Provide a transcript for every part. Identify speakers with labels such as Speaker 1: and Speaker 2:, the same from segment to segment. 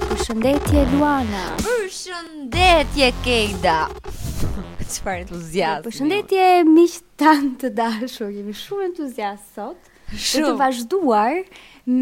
Speaker 1: Përshëndetje Luana.
Speaker 2: Përshëndetje Kejda. Çfarë entuziazmi.
Speaker 1: Përshëndetje miq tan të dashur. Jemi shumë entuziast sot. Për të
Speaker 2: Shumë.
Speaker 1: vazhduar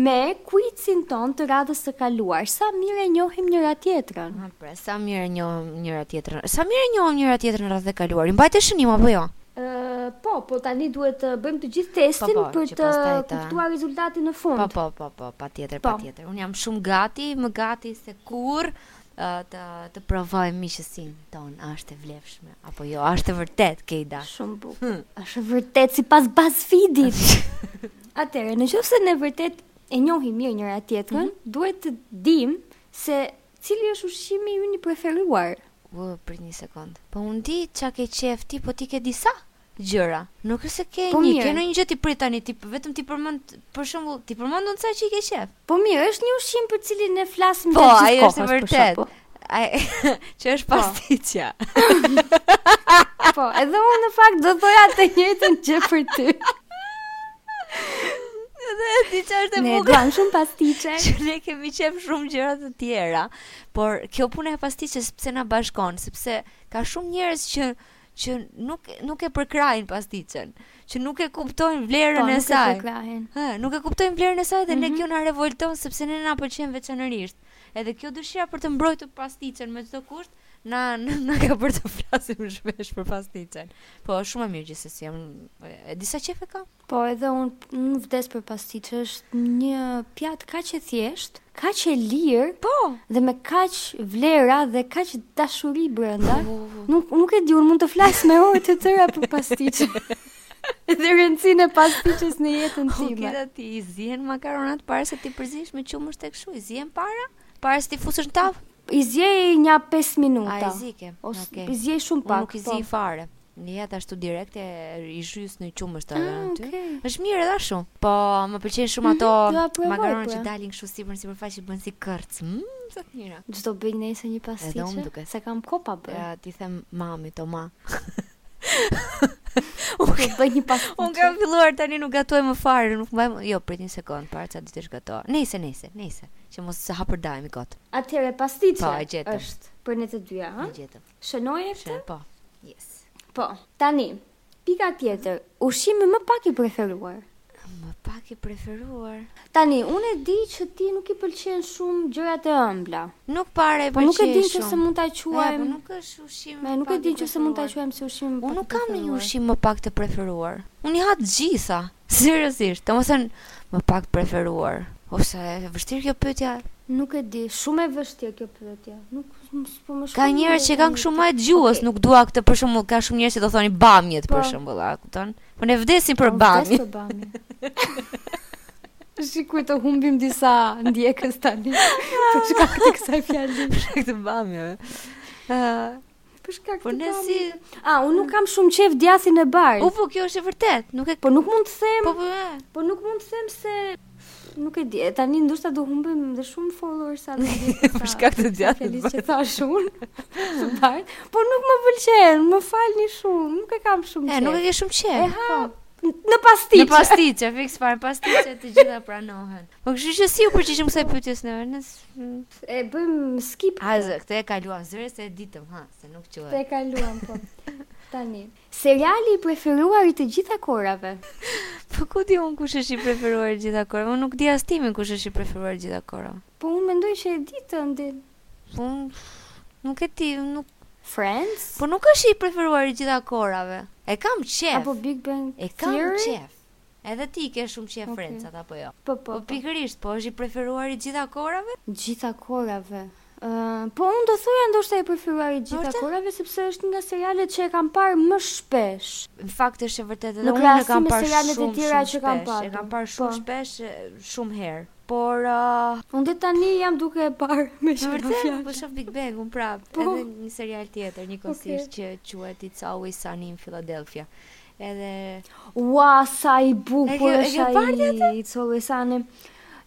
Speaker 1: me quizin ton të radhës së kaluar. Sa mirë e njohim njëra tjetrën.
Speaker 2: Ma Pra, sa mirë e njohëm njëra tjetrën. Sa mirë e njohëm njëra tjetrën rreth e kaluar. I mbajtë shënim apo jo?
Speaker 1: Ë, po, po tani duhet të bëjmë të gjithë testin
Speaker 2: Po, po,
Speaker 1: për
Speaker 2: që
Speaker 1: të
Speaker 2: pastaj ta-
Speaker 1: kuptuar rezultatin në fund.
Speaker 2: Po, po, po, po, patjetër,
Speaker 1: Po.
Speaker 2: patjetër. Unë jam shumë gati, më gati se kur ë, të të provoj miqësinë ton, a është e vlefshme apo jo? A është e vërtet Kejda?
Speaker 1: Shumë bukur. Është vërtet sipas BuzzFeedit. Atëherë, në qoftë se ne vërtet e njohim mirë njëra tjetrën, duhet të dim se cili është ushqimi ynë i preferuar.
Speaker 2: U, prit një sekond. Po unë di çka ke qef ti, po ti ke disa gjëra. Nuk është se ke
Speaker 1: Po
Speaker 2: një,
Speaker 1: mirë.
Speaker 2: ke ndonjë gjë ti prit tani, ti vetëm ti përmend, për shembull, ti përmendon sa që i ke qef.
Speaker 1: Po mirë, është një ushqim për cilin ne flasim
Speaker 2: Po,
Speaker 1: gjatë
Speaker 2: ai
Speaker 1: gjithë
Speaker 2: është e
Speaker 1: kohës, për
Speaker 2: vërtet.
Speaker 1: shembull.
Speaker 2: Ai që është pasticja.
Speaker 1: Po, edhe unë në fakt do thoja të njëjtën gjë për ty.
Speaker 2: Edhe ti që është e
Speaker 1: Ne
Speaker 2: bukur.
Speaker 1: duam shumë pastiçe.
Speaker 2: Që ne kemi qef shumë gjëra të tjera, por kjo puna e pastiçës pse na bashkon, sepse ka shumë njerëz që që nuk nuk e përkrajnë pastiçën, që nuk e kuptojnë
Speaker 1: Po,
Speaker 2: vlerën
Speaker 1: nuk
Speaker 2: e
Speaker 1: e
Speaker 2: saj.
Speaker 1: përkrahen.
Speaker 2: Ë, nuk e kuptojnë vlerën e saj dhe
Speaker 1: Mhm.
Speaker 2: ne kjo na revolton sepse ne na pëlqen veçanërisht. Edhe kjo dëshira për të mbrojtur pastiçën me çdo kusht na na na ka për të flasim shpesh për pastiçën. Po është shumë e mirë gjithsesi. Jam e disa qefe kam.
Speaker 1: Po, edhe unë unë vdes për pastiçe, është një pjatë kaq e thjeshtë, kaq e lirë,
Speaker 2: Po.
Speaker 1: dhe me kaq vlera dhe kaq dashuri brenda.
Speaker 2: Po, po,
Speaker 1: Nuk nuk e di, unë mund të flas me orë të tëra për pastiçe. dhe rëndësinë e pastiçes në jetën
Speaker 2: Po
Speaker 1: time.
Speaker 2: kida ti i zien makaronat para se ti përzihesh me qumësht tek shu, i zien para para se ti fusësh në tavë.
Speaker 1: I zjej nja 5
Speaker 2: A
Speaker 1: minuta.
Speaker 2: i zike.
Speaker 1: Ose
Speaker 2: Okej.
Speaker 1: i zjej shumë
Speaker 2: Unë
Speaker 1: pak. po.
Speaker 2: nuk i zi fare. Në jetë ashtu direkte i zhys në qumësht aty.
Speaker 1: Ah, okay.
Speaker 2: Është mirë edhe ashtu. Po, më pëlqejnë shumë ato
Speaker 1: Mhm, do ta provoj,
Speaker 2: makaronë që
Speaker 1: pra.
Speaker 2: dalin kështu sipër në sipërfaqe bën si kërc. Mm, sa të mira.
Speaker 1: Çdo bëj nëse një
Speaker 2: Edhe unë
Speaker 1: pastiçe,
Speaker 2: duket.
Speaker 1: se kam kopa bërë.
Speaker 2: Ja, ti them mami Toma.
Speaker 1: Do bëj një
Speaker 2: Unë
Speaker 1: pastiçe.
Speaker 2: kam filluar tani nuk gatoj më fare, nuk mbaj, më- jo, prit një sekond, para ça ditësh gatoa. Nice, nice, nice, që mos të hapër dajmi kot.
Speaker 1: Atëherë pastiçe
Speaker 2: Po, e gjetëm.
Speaker 1: është për ne të dyja, ha?
Speaker 2: E gjetëm.
Speaker 1: Shënoje Hm? këtë?
Speaker 2: Shë, po. Yes.
Speaker 1: Po. Tani, pika tjetër, ushqimi më pak i preferuar.
Speaker 2: Më pak i preferuar.
Speaker 1: Tani, unë e di që ti nuk i pëlqen shumë gjërat e ëmbla.
Speaker 2: Nuk pare,
Speaker 1: Po
Speaker 2: po
Speaker 1: nuk e di
Speaker 2: që
Speaker 1: nëse mund ta
Speaker 2: quajmë.
Speaker 1: quajmë.
Speaker 2: po Nuk është ushqim.
Speaker 1: Me nuk e di nëse mund ta quajmë si ushqim.
Speaker 2: Unë
Speaker 1: pak
Speaker 2: nuk
Speaker 1: i
Speaker 2: kam një
Speaker 1: Po preferuar.
Speaker 2: ushqim më pak të preferuar. Unë i ha të gjitha. Seriozisht, domethënë më pak preferuar. Ose e vështirë kjo pyetja.
Speaker 1: Nuk e di, shumë e vështirë kjo pyetje. Nuk mos po më shkon.
Speaker 2: Ka njerëz që kanë kështu më të gjuhës,
Speaker 1: Okej.
Speaker 2: nuk dua këtë për shembull, ka shumë njerëz që do thonin bamjet
Speaker 1: Po.
Speaker 2: për shembull, a kupton? Po ne vdesim për
Speaker 1: bami.
Speaker 2: bamjet.
Speaker 1: Për bami. Shikuj të humbim disa ndjekës tani. Për shkak të kësaj fjali.
Speaker 2: Këtë bamjeve. Ë,
Speaker 1: Për shkak të
Speaker 2: po ne
Speaker 1: bamit.
Speaker 2: si
Speaker 1: A, unë nuk kam shumë qef djasin e bardh.
Speaker 2: U po kjo është e vërtet, nuk e
Speaker 1: Po nuk mund të them,
Speaker 2: po po. e.
Speaker 1: po nuk mund të them se nuk e di. e Tani ndoshta do humbim dhe shumë followers sa do ndjekim.
Speaker 2: Për shkak të djathtit
Speaker 1: Fjalë që thash unë. së bardh, po nuk më pëlqen, më falni shumë, nuk e kam shumë
Speaker 2: E,
Speaker 1: qef.
Speaker 2: nuk e ke shumë qejf.
Speaker 1: E ha në pastiçe.
Speaker 2: Në pastiçe, fiks fare pastiçe të gjitha pranohen. Po kështu që si u përgjigjëm kësaj pyetjes neve? Ne Hmm. s- m,
Speaker 1: E bëjmë skip.
Speaker 2: A zë, këtë e kaluam zëre se e ditëm, ha, se nuk
Speaker 1: Te
Speaker 2: quhet.
Speaker 1: e kaluam po. Tani. Seriali i preferuar i të gjitha korave.
Speaker 2: Po ku di un kush është i preferuar gjitha kora? Unë nuk di as timin kush është i preferuar gjitha kora.
Speaker 1: Po unë mendoj që e di të ndi.
Speaker 2: Po unë nuk e di, nuk
Speaker 1: Friends
Speaker 2: Po nuk është i preferuar i gjitha korave. E kam qef.
Speaker 1: apo Big Bang
Speaker 2: e kam
Speaker 1: Theory?
Speaker 2: qef. Edhe ti ke shumë qef
Speaker 1: Okej.
Speaker 2: okay. Friendsat apo jo?
Speaker 1: Po po.
Speaker 2: Po,
Speaker 1: po.
Speaker 2: pikërisht, po është i preferuar i gjitha korave?
Speaker 1: Gjitha korave. Ë, po unë do thoja ndoshta e preferuar i gjitha
Speaker 2: Vërtet?
Speaker 1: korave sepse është një nga serialet që e kam parë më shpesh.
Speaker 2: Në fakt është e vërtetë
Speaker 1: Në
Speaker 2: edhe unë e
Speaker 1: krahasim
Speaker 2: kam
Speaker 1: me
Speaker 2: parë
Speaker 1: serialet e
Speaker 2: shumë shumë
Speaker 1: tjera që
Speaker 2: shpesh.
Speaker 1: kam parë.
Speaker 2: E kam parë shumë
Speaker 1: Po.
Speaker 2: shpesh, e, shumë herë. Por uh,
Speaker 1: Unë dhe tani jam duke e parë me
Speaker 2: në
Speaker 1: shumë
Speaker 2: vërtet
Speaker 1: fjalë.
Speaker 2: po shoh Big Bang un prap,
Speaker 1: Po.
Speaker 2: edhe një serial tjetër, njëkohësisht që quhet It's Always Sunny in Philadelphia. Edhe
Speaker 1: Ua, sa i
Speaker 2: E
Speaker 1: bukur
Speaker 2: ke- e ke
Speaker 1: është
Speaker 2: parë
Speaker 1: ai i Colesani.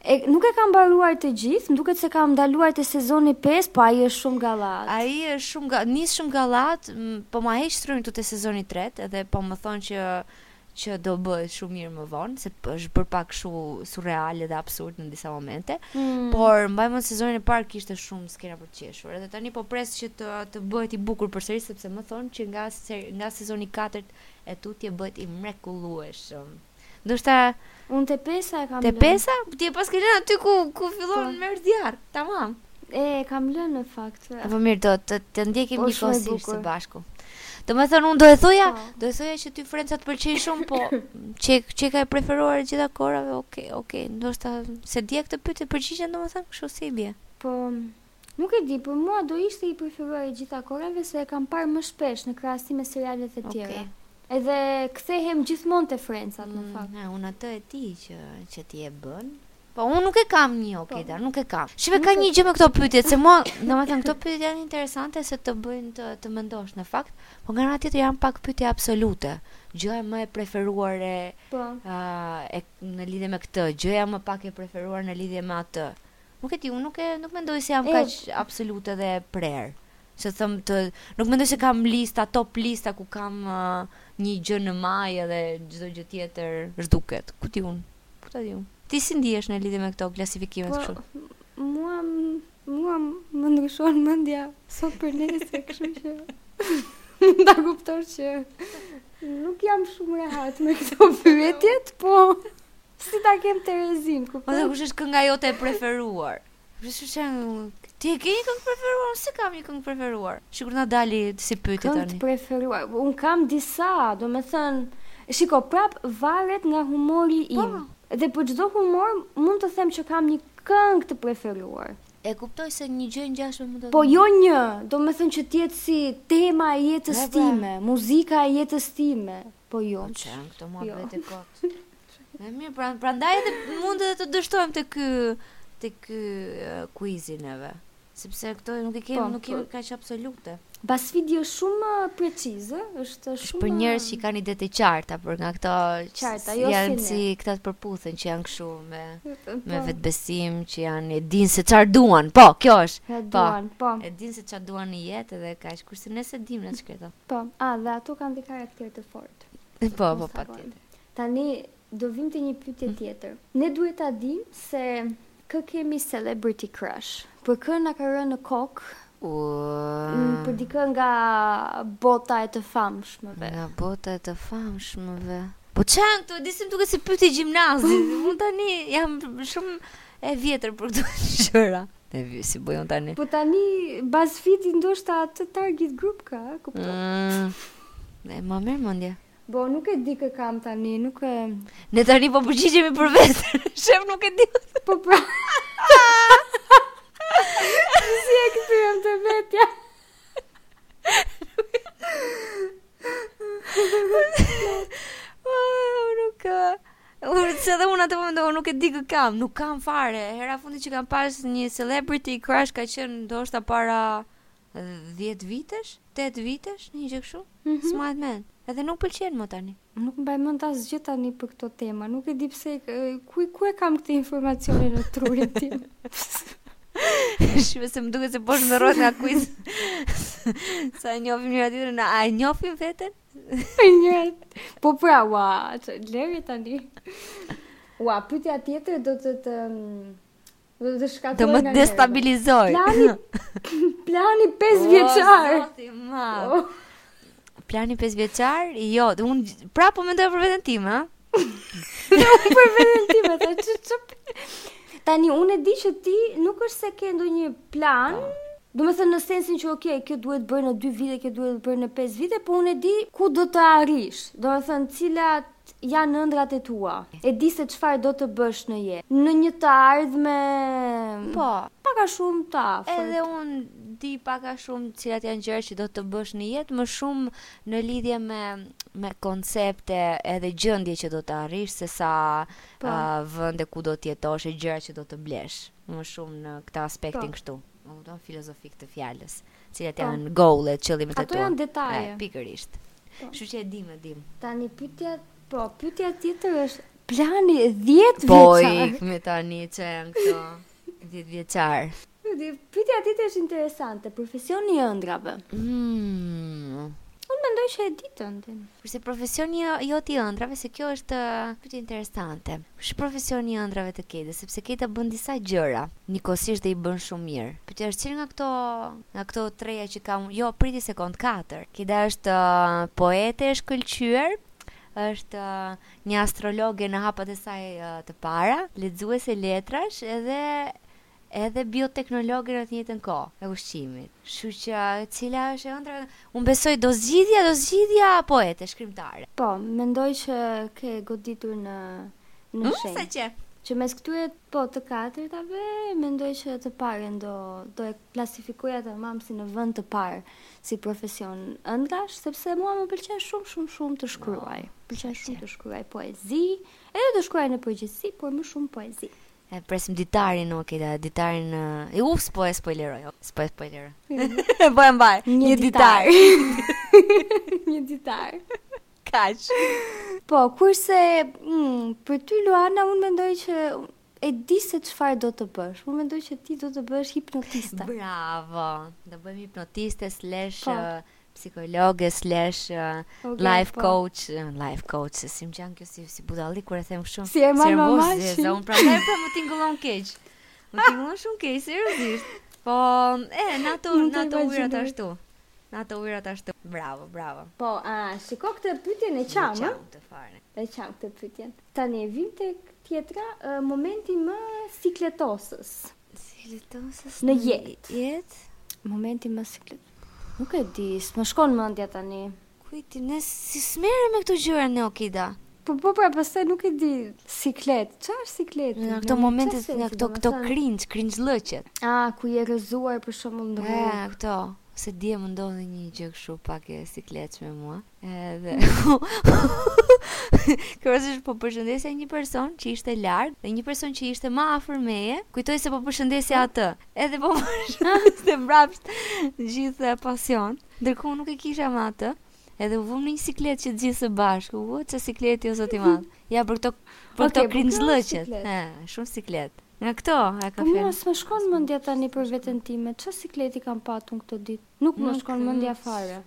Speaker 1: E, nuk e kam mbaruar të gjithë, më duket se kam ndaluar te sezoni 5, po ai është shumë gallat.
Speaker 2: Ai është shumë ga, nis shumë gallat, m, po ma heq strojnë këtu te sezoni 3 edhe po më thon që që do bëhet shumë mirë më vonë, se p- është bërë pak kështu surreale dhe absurd në disa momente.
Speaker 1: Mm.
Speaker 2: Por mbaj mend sezonin e parë kishte shumë skena për të qeshur. Edhe tani po pres që të të bëhet i bukur përsëri sepse më thonë që nga se- nga sezoni 4 e tutje bëhet i mrekullueshëm. Ndoshta
Speaker 1: unë te pesa e kam
Speaker 2: te
Speaker 1: lënë.
Speaker 2: pesa ti e pas ke lënë aty ku ku fillon
Speaker 1: Po.
Speaker 2: me erdhjar. Tamam.
Speaker 1: E e kam lënë në fakt.
Speaker 2: Po mirë do të të ndjekim
Speaker 1: Po, shumë e
Speaker 2: njëkohësisht së
Speaker 1: bukur.
Speaker 2: bashku. Do me thënë, unë do e thoja,
Speaker 1: Po.
Speaker 2: do e thoja që ty Franca të pëlqej shumë, po që, që ka e preferuar e gjitha korave, okej, okej, ndoshta se dje këtë pyetje përgjigjen do me thënë, kështu si i bje.
Speaker 1: Po nuk e di, për mua do ishte i preferuar i gjitha korave se e kam parë më shpesh në krahasim me serialet e tjera.
Speaker 2: Okej.
Speaker 1: Edhe kthehem gjithmonë te Frencat në
Speaker 2: Mm,
Speaker 1: fakt.
Speaker 2: e, unë atë e ti që, që ti e bën. Po unë nuk e kam një okej,
Speaker 1: Po.
Speaker 2: dar nuk e kam. Shive
Speaker 1: Nuk
Speaker 2: ka
Speaker 1: e-
Speaker 2: një gjë me këto pyetje, se mua, domethënë këto pyetje janë interesante se të bëjnë të, të mendosh në fakt, po nga ana tjetër janë pak pyetje absolute. Gjëja më e preferuar e
Speaker 1: Po.
Speaker 2: Ah, e në lidhje me këtë, gjëja më pak e preferuar në lidhje me atë. Nuk e di, unë nuk e nuk mendoj se jam
Speaker 1: E-
Speaker 2: kaq absolute dhe prerë. Se them të nuk mendoj se kam lista, top lista ku kam ah, një gjë në maj edhe çdo gjë tjetër zhduket. Ku ti unë? Ku ta di unë? Ti si ndihesh në lidhje me këto klasifikime
Speaker 1: Po
Speaker 2: kështu?
Speaker 1: mua m- mua m- më ndryshon mendja sot për nesër, kështu që mund ta kuptosh që nuk jam shumë rehat me këto pyetjet, po si ta kem Terezin,
Speaker 2: Ose
Speaker 1: kupton?
Speaker 2: kush është kënga jote e preferuar? Kështu që ti e ke një këngë preferuar, unë si kam një këngë preferuar. Sigur na dali si pyetje
Speaker 1: Këngë
Speaker 2: tani.
Speaker 1: të preferuar. Un kam disa, do me thënë, shiko, prap varet nga humori
Speaker 2: Po.
Speaker 1: im. Dhe për çdo humor mund të them që kam një këngë të preferuar.
Speaker 2: E kuptoj se një gjë ngjashme mund të
Speaker 1: Po
Speaker 2: thonë.
Speaker 1: jo një, do me thënë që tjetë si tema e jetës
Speaker 2: Ne, pra.
Speaker 1: time, muzika e jetës time. Po jo.
Speaker 2: Po që janë këto mua
Speaker 1: Jo.
Speaker 2: vetë kot. E mirë, pra, prandaj edhe mund edhe të dështojmë të ky të ky uh, quizi neve. Sepse këto nuk i kemi,
Speaker 1: Po,
Speaker 2: nuk kemi
Speaker 1: po.
Speaker 2: kaq absolute.
Speaker 1: Basfidi është shumë precize, është
Speaker 2: Është
Speaker 1: shumë...
Speaker 2: për njerëz që kanë ide të qarta, për nga këto që
Speaker 1: Qarta,
Speaker 2: s-
Speaker 1: jo si
Speaker 2: janë
Speaker 1: ne.
Speaker 2: si këta të përputhen që janë kështu me me
Speaker 1: Po,
Speaker 2: vetbesim, që janë e dinë se çfarë duan. Po, kjo është.
Speaker 1: e duan, po,
Speaker 2: E dinë se çfarë duan në jetë edhe kaq. Kurse ne se dimë na çka këto.
Speaker 1: po. A, dhe ato kanë dhe karakter të fortë.
Speaker 2: Po, po,
Speaker 1: Mos ta bëjmë.
Speaker 2: patjetër.
Speaker 1: Tani, do vim të një pytje tjetër. Ne duhet ta dim se kë kemi celebrity crush. Për kë na ka rënë në kokë,
Speaker 2: U. Ah.
Speaker 1: m, për dikë nga bota e të famshmëve.
Speaker 2: Nga bota e të famshmëve. Po çan këto disim duket si pyetje gjimnazi. Unë tani jam shumë e vjetër për këto gjëra. Ne vi- si bëjon tani?
Speaker 1: Po tani BuzzFeed ndoshta atë target group ka, e kupton?
Speaker 2: Mm, Ne ma merr mendja.
Speaker 1: Bo, nuk e di kë kam tani, nuk e...
Speaker 2: Ne tani po përgjigjemi për vetë. Shef nuk e di.
Speaker 1: Po pra... si e këtyrem të vetja?
Speaker 2: Ah, nuk ka. Unë se dhe unë atë moment unë nuk e di kë kam, nuk kam fare. Hera fundi që kam pas një celebrity crush ka qenë ndoshta para 10 vitesh, 8 vitesh, një gjë kështu. Smart man. Edhe nuk pëlqen më tani.
Speaker 1: Nuk mbaj mend asgjë tani për këto tema, nuk e di pse e, ku ku e kam këtë informacione në trurin tim.
Speaker 2: Shqipe se më duket se po shndërrohet nga quiz. Sa e njohim njëra tjetrën, a e njohim veten?
Speaker 1: Njëherë. Po pra, ua, që lere tani. Ua, pyetja tjetër do të të mm, do të shkatërroj
Speaker 2: Të më
Speaker 1: nga nerva.
Speaker 2: destabilizoj.
Speaker 1: Plani plani 5 vjeçar. Oh.
Speaker 2: O, zoti madh. Plani 5 vjeçar? Jo, dhe unë prapë po mendoj për veten time, ha?
Speaker 1: Unë për veten time tha ç ç. Tani unë e di që ti nuk është se ke ndonjë plan, do të thënë në sensin që ok, kjo duhet bërë në 2 vite, kjo duhet bërë në 5 vite, po unë e di ku do të arrish. Do të thënë cilat janë ëndrat e tua. E di se çfarë do të bësh në jetë. Në një të ardhme
Speaker 2: Po.
Speaker 1: pak a shumë të afërt.
Speaker 2: Edhe unë di pak a shumë cilat janë gjërat që do të bësh në jetë, më shumë në lidhje me me koncepte edhe gjendje që do të arrish se sa
Speaker 1: Po.
Speaker 2: uh, vende ku do të jetosh e gjërat që do të blesh. Më shumë në këtë aspektin
Speaker 1: Po.
Speaker 2: kështu. Më kupton filozofik të fjalës, cilat
Speaker 1: Po.
Speaker 2: janë goalet, qëllimet e
Speaker 1: Ato janë detaje.
Speaker 2: E, Pikërisht.
Speaker 1: Po.
Speaker 2: Kështu që e dim, e dim.
Speaker 1: Tani pyetja, po pyetja tjetër është plani 10
Speaker 2: Po i
Speaker 1: vjeçar.
Speaker 2: me tani që janë këto 10 vjeçar.
Speaker 1: Pyetja tjetër është interesante, profesioni i ëndrave.
Speaker 2: Mm.
Speaker 1: Unë mendoj ishe e ditën ti.
Speaker 2: Kurse profesioni jo- jot i ëndrave, se kjo është uh, pyetje interesante. Kush profesioni i ëndrave të Ketës, sepse Keta bën disa gjëra, njëkohësisht dhe i bën shumë mirë. Pyetja është cilë nga këto nga këto treja që kam, jo, priti sekond 4. Keta është uh, poete, është këlqyer, është uh, një astrologe në hapat e saj uh, të para, lexuese letrash edhe edhe bioteknologe në të njëjtën kohë e ushqimit. Kështu që cila është e ëndra? Unë besoj do zgjidhja, do zgjidhja poete, shkrimtare.
Speaker 1: Po, mendoj që ke goditur në në
Speaker 2: Mm,
Speaker 1: shenjë.
Speaker 2: sa që.
Speaker 1: Që mes këtyre po të katërtave, mendoj që të parën do do e klasifikoja tamam si në vend të parë si profesion ëndrash, sepse mua më pëlqen shumë shumë shumë të shkruaj. Pëlqen shumë të shkruaj poezi, edhe të shkruaj në përgjithësi, por më shumë poezi.
Speaker 2: E presim ditarin, ok, da, ditarin... E, u, s'po e spoileroj, o, s'po e spoileroj. po e mbaj, një, ditar.
Speaker 1: Një ditar.
Speaker 2: Kaq.
Speaker 1: Po, kurse mm, për ty Luana, unë mendoj që e di se çfarë do të bësh. Unë mendoj që ti do të bësh hipnotista.
Speaker 2: Bravo. Do bëjmë hipnotiste slash
Speaker 1: Po.
Speaker 2: eh, psikologe slash eh,
Speaker 1: Ok,
Speaker 2: life
Speaker 1: po.
Speaker 2: coach, eh, life coach, se si më gjanë kjo si, si budalli, kur e them kështu.
Speaker 1: Si e marr
Speaker 2: nervoz,
Speaker 1: mamashin.
Speaker 2: zeza, unë prandaj pra më tingëllon keq. Më tingëllon shumë keq, seriozisht. Po, e, në ato,
Speaker 1: Nuk e
Speaker 2: në ato ujrat
Speaker 1: imagjinoj.
Speaker 2: ashtu. Në ato ujrat ashtu. Bravo, bravo.
Speaker 1: Po, a, shiko këtë pyetjen e
Speaker 2: Nuk
Speaker 1: qamë,
Speaker 2: të fare.
Speaker 1: e qamë këtë pyetjen. Tani vim tek tjetra ë, momenti më sikletosës.
Speaker 2: Si letosës
Speaker 1: Në jetë.
Speaker 2: Jetë?
Speaker 1: Momenti më siklet. Nuk e di, s'më shkon mendja tani.
Speaker 2: Kujti, ne si smere me këto gjëra ne Okida?
Speaker 1: Po po pra pastaj nuk e di. Siklet, çfarë është sikleti?
Speaker 2: Nga këto
Speaker 1: Në
Speaker 2: momente,
Speaker 1: çfarë
Speaker 2: nga
Speaker 1: sensi,
Speaker 2: këto këto
Speaker 1: domethënë?
Speaker 2: cringe, cringe lëqet.
Speaker 1: Ah, ku je rrëzuar për shembull në rrugë.
Speaker 2: E, këto. Se dje më ndodhi një gjë kështu pak e sikletshme mua. Edhe
Speaker 1: Mm.
Speaker 2: Kërësish po përshëndesja një person që ishte larg dhe një person që ishte më afër meje. Kujtoj se po përshëndesja
Speaker 1: Mm.
Speaker 2: atë. Edhe po më përshëndeste mbrapsht gjithë pasion. Ndërkohë nuk e kisha më atë. Edhe u vëmë në një siklet që të gjithë së bashku. U, që sikleti o zoti
Speaker 1: Mm-hmm.
Speaker 2: madh. Ja për këto
Speaker 1: Okej,
Speaker 2: për këto
Speaker 1: po kjo
Speaker 2: cringe
Speaker 1: është
Speaker 2: lëqet.
Speaker 1: siklet.
Speaker 2: E, shumë siklet. Nga këto e
Speaker 1: Po
Speaker 2: ka
Speaker 1: mua
Speaker 2: fjalë.
Speaker 1: s'më shkon mendja tani për veten time. Çfarë sikleti kam patur këto ditë? Nuk më
Speaker 2: Nuk,
Speaker 1: shkon
Speaker 2: nuk.
Speaker 1: mendja fare.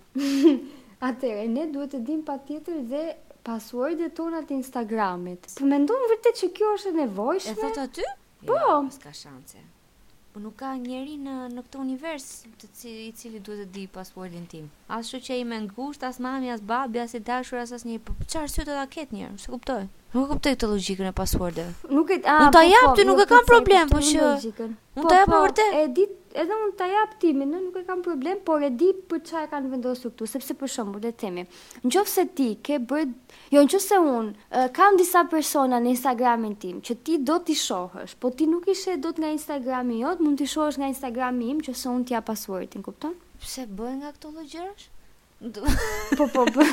Speaker 1: Atëherë ne duhet të dim patjetër dhe pasuardet tona të Instagramit. Po mendon vërtet që kjo është e
Speaker 2: E
Speaker 1: nevojshme?
Speaker 2: thot aty?
Speaker 1: Po.
Speaker 2: Jo, s'ka shanse. Po nuk ka njeri në në këtë univers të cili, i cili duhet të di pasuardin tim. As shoqja ime e ngushtë, as mami, as babi, as i dashur, as asnjë. Po çfarë arsye do ta ketë një? Se kuptoj. Nuk e kuptoj këtë logjikën e pasuardeve.
Speaker 1: Nuk e
Speaker 2: Unë ta jap ty,
Speaker 1: jo,
Speaker 2: nuk e kam
Speaker 1: përcej,
Speaker 2: problem, po
Speaker 1: kuptoj
Speaker 2: që-
Speaker 1: logjikën.
Speaker 2: Unë
Speaker 1: Po,
Speaker 2: ta jap
Speaker 1: po,
Speaker 2: vërtet.
Speaker 1: E di, edhe unë ta jap timin, ëh, nuk e kam problem, por e di për çfarë kanë vendosur këtu, sepse për shembull, le të themi, nëse ti ke bër, jo nëse unë ë, kam disa persona në Instagramin tim që ti do t'i shohësh, po ti nuk ishe dot nga Instagrami jot, mund t'i shohësh nga Instagrami im që se unë t'ja passwordin, kupton?
Speaker 2: Pse bëhen nga këto lloj gjërash? Do-
Speaker 1: Po po po.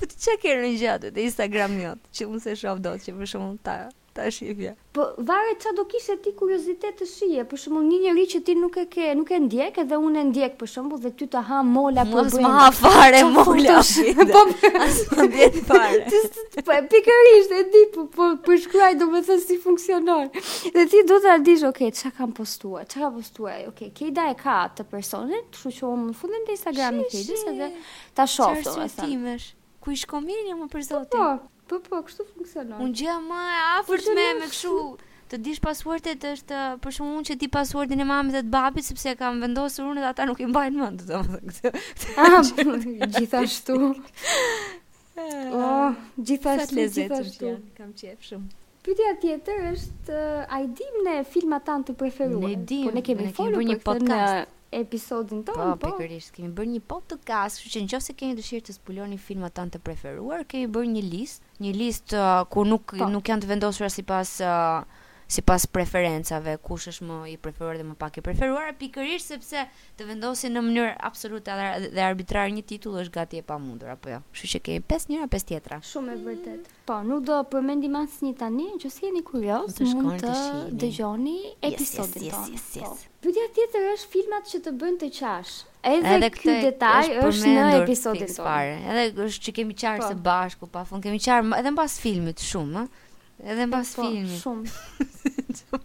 Speaker 2: Po ti çka ke rënë gjatë te Instagrami jot, që unë se shoh dot që për shembull ta ta shihja.
Speaker 1: Po varet çfarë do kishe ti kuriozitet të shije, për shembull një njerëz që ti nuk e ke, nuk e ndjek, edhe unë e ndjek për shembull dhe ty ta ha mola për
Speaker 2: Mos më ha fare
Speaker 1: Qa
Speaker 2: mola.
Speaker 1: kuptosh?
Speaker 2: Po as më ndjen fare.
Speaker 1: Ti s- Po e pikërisht e di, po po po shkruaj domethënë si funksionon. Dhe ti do ta dish, okay, çka kam postuar, çka ka postuar. Okay, Kejda e ka atë personin, kështu që unë në fundin të Instagramit
Speaker 2: Shi,
Speaker 1: Kejdës
Speaker 2: shi.
Speaker 1: edhe ta shoh
Speaker 2: Çfarë
Speaker 1: domethënë.
Speaker 2: syrtimesh? Ku i shkon mirë më për
Speaker 1: Po,
Speaker 2: zotin?
Speaker 1: po po, kështu funksionon.
Speaker 2: Unë gjë më e afërt me me kështu të dish pasuartet është uh, për shkakun unë që ti pasuardin e mamës dhe të babit sepse e kam vendosur unë dhe ata nuk i mbajnë mend, domethënë këtë.
Speaker 1: Ah, gjithashtu. Oh,
Speaker 2: Sa
Speaker 1: gjithashtu,
Speaker 2: të lezetshëm që
Speaker 1: gjithashtu.
Speaker 2: janë, kam qejf shumë.
Speaker 1: Pyetja tjetër është ë, a i dim në filmat tanë të preferuar?
Speaker 2: Ne dim,
Speaker 1: po ne kemi
Speaker 2: ne kemi
Speaker 1: folur
Speaker 2: bërë një
Speaker 1: për këtë në
Speaker 2: podcast.
Speaker 1: episodin
Speaker 2: Po,
Speaker 1: tonë, po.
Speaker 2: pikërisht, kemi bërë një podcast, kështu që nëse keni dëshirë të zbuloni filmat tanë të preferuar, kemi bërë një listë, një listë uh, ku nuk
Speaker 1: Po.
Speaker 2: nuk janë të vendosura sipas uh, sipas preferencave, kush është më i preferuar dhe më pak i preferuar, pikërisht sepse të vendosin në mënyrë absolute dhe- dhe arbitrar një titull është gati e pamundur apo jo. Kështu që kemi 5 njëra, 5 tjetra.
Speaker 1: Shumë e vërtet. Po, nuk do përmendim asnjë tani, që si jeni kurioz,
Speaker 2: Mund të shkoni
Speaker 1: mund
Speaker 2: të
Speaker 1: të
Speaker 2: shihni.
Speaker 1: dëgjoni
Speaker 2: yes,
Speaker 1: episodin
Speaker 2: yes,
Speaker 1: tonë.
Speaker 2: yes, yes.
Speaker 1: Po. Pyetja tjetër është filmat që të bëjnë të qash. Edhe, ky
Speaker 2: këtë
Speaker 1: detaj është në
Speaker 2: përmendur
Speaker 1: episodin
Speaker 2: fix
Speaker 1: tonë.
Speaker 2: Fare. Edhe është që kemi qartë
Speaker 1: Po.
Speaker 2: së bashku, pa fund kemi qartë, ma- edhe mbas filmit shumë, ë. Edhe mbas
Speaker 1: Po,
Speaker 2: filmit.
Speaker 1: shumë.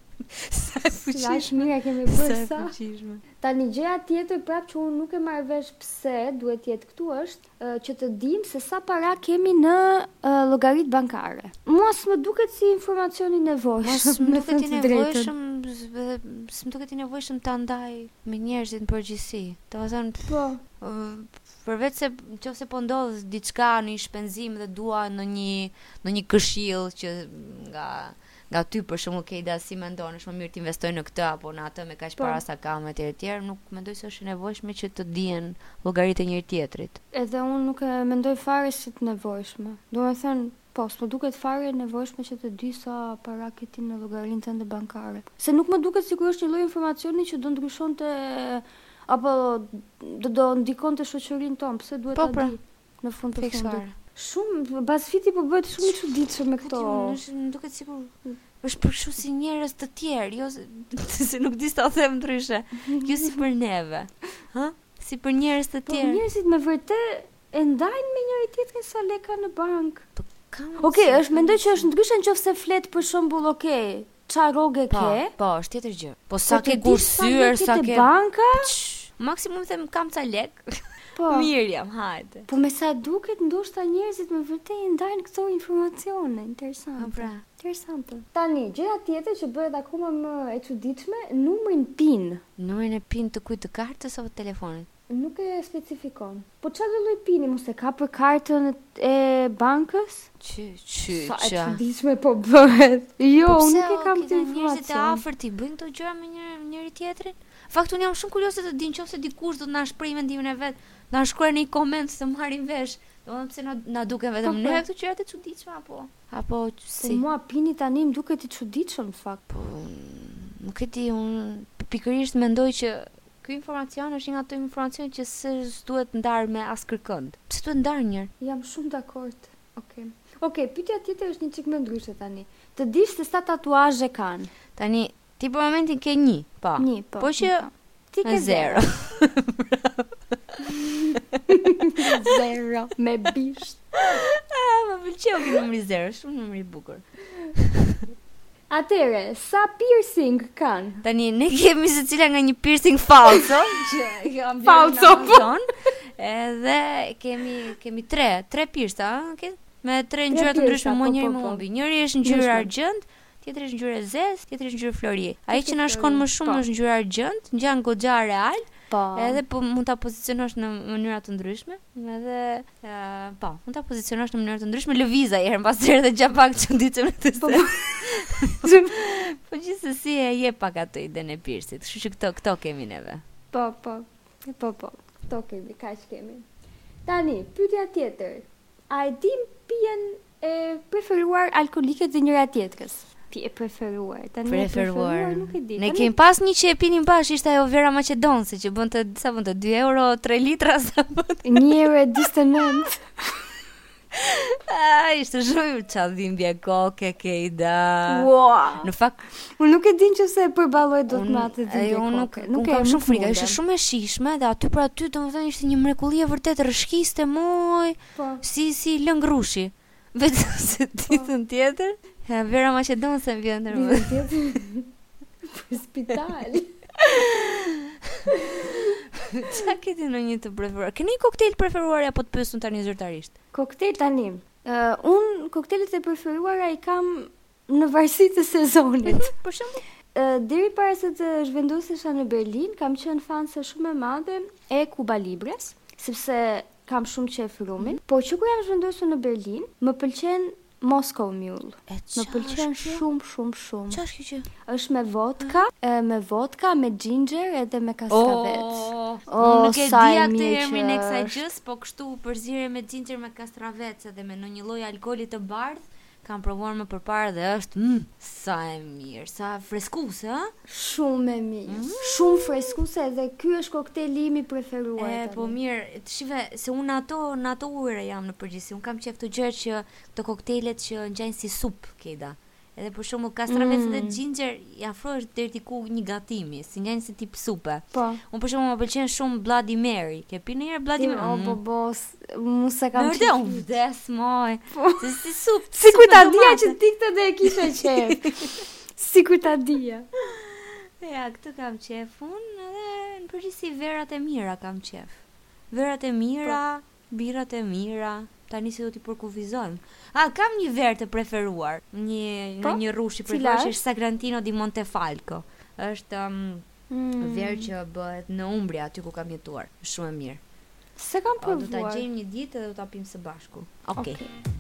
Speaker 2: Sa e
Speaker 1: Lash
Speaker 2: fuqishme.
Speaker 1: mira kemi
Speaker 2: Sa
Speaker 1: bërë
Speaker 2: e
Speaker 1: sa.
Speaker 2: fuqishme.
Speaker 1: Tani gjëja tjetër prapë që unë nuk e marr vesh pse duhet jetë këtu është ë, që të dim se sa para kemi në ë, llogarit bankare. Mua s'më duket si informacioni i
Speaker 2: Mos
Speaker 1: nevojshëm.
Speaker 2: më
Speaker 1: me
Speaker 2: duket i
Speaker 1: thënë të drejtën.
Speaker 2: nevojshëm, z- dhe s'më duket i nevojshëm ta ndaj me njerëzit në përgjithësi. Domethënë
Speaker 1: Po.
Speaker 2: Ë, përveç se nëse po ndodh diçka në një shpenzim dhe dua në një në një këshill që nga nga ty për shembull ke ide si mendon, është më mirë të investoj në këtë apo në atë me kaq
Speaker 1: Po.
Speaker 2: para sa kam etj etj, nuk mendoj se është e nevojshme që të dihen llogaritë e njëri tjetrit.
Speaker 1: Edhe unë nuk e mendoj fare si të nevojshme. Do me thënë, po, s'më duket fare e nevojshme që të di sa para ke ti në llogarinë tënde bankare. Se nuk më duket sikur është një lloj informacioni që do ndryshonte apo do do ndikonte shoqërinë tonë, pse duhet
Speaker 2: Po,
Speaker 1: ta
Speaker 2: pra.
Speaker 1: di në fund të fundit.
Speaker 2: Fiksfare.
Speaker 1: Shumë bazfiti po bëhet shumë i çuditshëm me
Speaker 2: Këto
Speaker 1: këto.
Speaker 2: më duket sikur
Speaker 1: Mm.
Speaker 2: është për kështu si njerëz të tjerë, jo se- se nuk di sa them ndryshe. Jo si për neve. Hë? Si për njerëz të
Speaker 1: Po
Speaker 2: tjerë.
Speaker 1: njerëzit me vërtet e ndajnë me njëri tjetrin sa leka në bankë.
Speaker 2: Kam-
Speaker 1: Okej,
Speaker 2: si-
Speaker 1: është mendoj që është ndryshe nëse flet për shembull, okej, çfarë roge
Speaker 2: Po,
Speaker 1: ke?
Speaker 2: po, është tjetër gjë. Po sa
Speaker 1: Po të
Speaker 2: ke
Speaker 1: di
Speaker 2: kursyer,
Speaker 1: leket
Speaker 2: sa
Speaker 1: e
Speaker 2: ke
Speaker 1: banka?
Speaker 2: Ç, Maksimum them kam ca lek.
Speaker 1: Po.
Speaker 2: Mirë jam, hajde.
Speaker 1: Po me sa duket ndoshta njerëzit me vërtet i ndajnë këto informacione, interesante.
Speaker 2: Po pra.
Speaker 1: Interesante. Tani, gjëja tjetër që bëhet akoma më e çuditshme, numrin PIN
Speaker 2: Numrin e PIN të kujt të kartës apo të telefonit?
Speaker 1: nuk e specifikon. Po çfarë do lloj PIN-i mos e ka për kartën e bankës?
Speaker 2: Çi, çi,
Speaker 1: Sa e
Speaker 2: çi.
Speaker 1: çuditshme po bëhet. Jo,
Speaker 2: Po
Speaker 1: unë
Speaker 2: pse,
Speaker 1: nuk e
Speaker 2: o,
Speaker 1: kam këtë
Speaker 2: këta Njerëzit e
Speaker 1: informacion.
Speaker 2: afërt i bëjnë këto gjëra me njëri njëri tjetrin. Në Fakt unë jam shumë kurioze të di nëse dikush do të na shprehë mendimin e vet, na shkruaj në një koment se marrim vesh. Domethënë pse na na duken vetëm
Speaker 1: Po, po.
Speaker 2: ne këto gjëra të çuditshme apo apo
Speaker 1: Se
Speaker 2: si?
Speaker 1: mua PIN-i tani më duket i çuditshëm në fakt.
Speaker 2: Po, nuk e di, unë pikërisht mendoj që ky informacion është një nga ato informacione që së duhet ndar me as kërkënd. Pse duhet ndar njërë?
Speaker 1: Jam shumë dakord. Okej. Okej, pyetja tjetër është një çik më ndryshe tani. Të dish se sa tatuazhe kanë.
Speaker 2: Tani ti për momentin ke një, po.
Speaker 1: Një, po.
Speaker 2: Po që
Speaker 1: ti
Speaker 2: ke zero.
Speaker 1: zero me bisht.
Speaker 2: Ah, më pëlqeu ky numri zero, shumë numri i bukur.
Speaker 1: Atëre, sa piercing kanë?
Speaker 2: Tani ne kemi secila nga një piercing falso, që kam blerë
Speaker 1: Falso,
Speaker 2: në
Speaker 1: po.
Speaker 2: Amazon. Edhe kemi kemi 3, 3 pirsa, ëh, ke? Me tre ngjyra të
Speaker 1: pirsa,
Speaker 2: ndryshme, më
Speaker 1: po,
Speaker 2: njëri
Speaker 1: po,
Speaker 2: më
Speaker 1: po.
Speaker 2: humbi. Njëri është ngjyrë
Speaker 1: Ndryshme.
Speaker 2: argjend, tjetri është ngjyrë zezë, tjetri është ngjyrë flori. Ai
Speaker 1: Tjetri
Speaker 2: që na
Speaker 1: flori,
Speaker 2: shkon më shumë
Speaker 1: po.
Speaker 2: është ngjyra argjend, ngjan goxha real,
Speaker 1: Po.
Speaker 2: edhe po mund ta pozicionosh në mënyra të ndryshme, edhe ë, po, mund ta pozicionosh në mënyra të ndryshme, lëviza herën pas here dhe gjapak çuditshëm të
Speaker 1: Po,
Speaker 2: se.
Speaker 1: po.
Speaker 2: Po gjithsesi e jep pak atë idenë e pirsit. Kështu që këto këto kemi neve.
Speaker 1: po, po. Po, po. Kto kemi, kaq kemi. Tani, pyetja tjetër. A e dim pijen e preferuar alkolike të njëra tjetrës? Pi e preferuar. Tani e
Speaker 2: Preferuar.
Speaker 1: nuk e di.
Speaker 2: Ne
Speaker 1: Tani-
Speaker 2: kemi pas një që e pinim bash, ishte ajo Vera Maqedonse që bënte sa bënte 2 euro 3 litra sa bënte.
Speaker 1: Njëre distonant.
Speaker 2: Ah, ishte shumë çadhimbje koke ke ida.
Speaker 1: Wow.
Speaker 2: Në fakt
Speaker 1: Unë nuk e din që se e përballoj dot
Speaker 2: unë-
Speaker 1: me atë
Speaker 2: e,
Speaker 1: ditë.
Speaker 2: unë nuk nuk kam shumë frikë, ishte shumë e shishme dhe aty për aty domethënë ishte një mrekulli e vërtet rrshkiste moj,
Speaker 1: Po.
Speaker 2: si si lëng rushi. Vetëm se ditën tjetër, ja, Vera Maqedonse më vjen ndërmend.
Speaker 1: Ditën tjetër Po, për spital.
Speaker 2: Qa ke ti në një të preferuar? Keni një koktejl preferuar apo të pyesun tani zyrtarisht?
Speaker 1: Koktejl tani. Uh, unë koktejlet e preferuara i kam në varësi të sezonit.
Speaker 2: Për shembull,
Speaker 1: Uh, deri para se të zhvendosesha në Berlin, kam qenë fanse shumë e madhe e Cuba Libres, sepse kam shumë qef
Speaker 2: Mhm.
Speaker 1: rumin, por që kur jam zhvendosur në Berlin, më pëlqen Moscow Mule.
Speaker 2: e
Speaker 1: Më pëlqen shumë shumë shumë.
Speaker 2: Çfarë është kjo që?
Speaker 1: është me vodka, e, me vodka, me ginger edhe me kaskavet. O,
Speaker 2: unë nuk e
Speaker 1: sa e
Speaker 2: dija këtë
Speaker 1: mirë
Speaker 2: emrin
Speaker 1: që
Speaker 2: e kësaj
Speaker 1: është.
Speaker 2: gjës, po kështu u përzierje me ginger me kastravec edhe me ndonjë lloj alkooli të bardh. Kam provuar më përpara dhe është mm, sa e mirë, sa freskuese, ë?
Speaker 1: Shumë e mirë.
Speaker 2: Mm.
Speaker 1: Shumë freskuese edhe ky është koktejli im i preferuar.
Speaker 2: E,
Speaker 1: tani.
Speaker 2: po mirë, të shive, se unë ato, në ato ujëra jam në përgjithësi. Unë kam qef të gjërë që të koktejlet që ngjajnë si sup, keda. Edhe për shembull kastravec
Speaker 1: Mm.
Speaker 2: dhe ginger i afrohesh deri diku një gatimi, si ngjajnë si tip supe.
Speaker 1: po.
Speaker 2: Unë për shembull më pëlqen shumë Bloody Mary. Ke pirë ndonjëherë
Speaker 1: Ti
Speaker 2: Bloody Mary?
Speaker 1: o po bos, mu se kam
Speaker 2: Kam Mm. vërtet unë vdes moj.
Speaker 1: Po.
Speaker 2: Se si sup.
Speaker 1: Sikur
Speaker 2: sup me
Speaker 1: ta dija
Speaker 2: domate.
Speaker 1: që ti këtë do e kishe qef. Sikur ta dija.
Speaker 2: Ja, këtë kam qef unë edhe në përgjithësi verat e mira kam qef. Verat e mira, birat e mira, tani si do t'i përkufizon. A, kam një verë të preferuar, një,
Speaker 1: Po?
Speaker 2: një rrush i
Speaker 1: Cila
Speaker 2: preferuar që
Speaker 1: është?
Speaker 2: është Sagrantino di Montefalco. është um,
Speaker 1: Mm.
Speaker 2: verë që bëhet në Umbria, aty ku kam jetuar. Shumë e mirë.
Speaker 1: Se kam
Speaker 2: O, Po, do ta
Speaker 1: provuar.
Speaker 2: gjejmë një ditë dhe do ta pimë së bashku. Okej.
Speaker 1: Okej.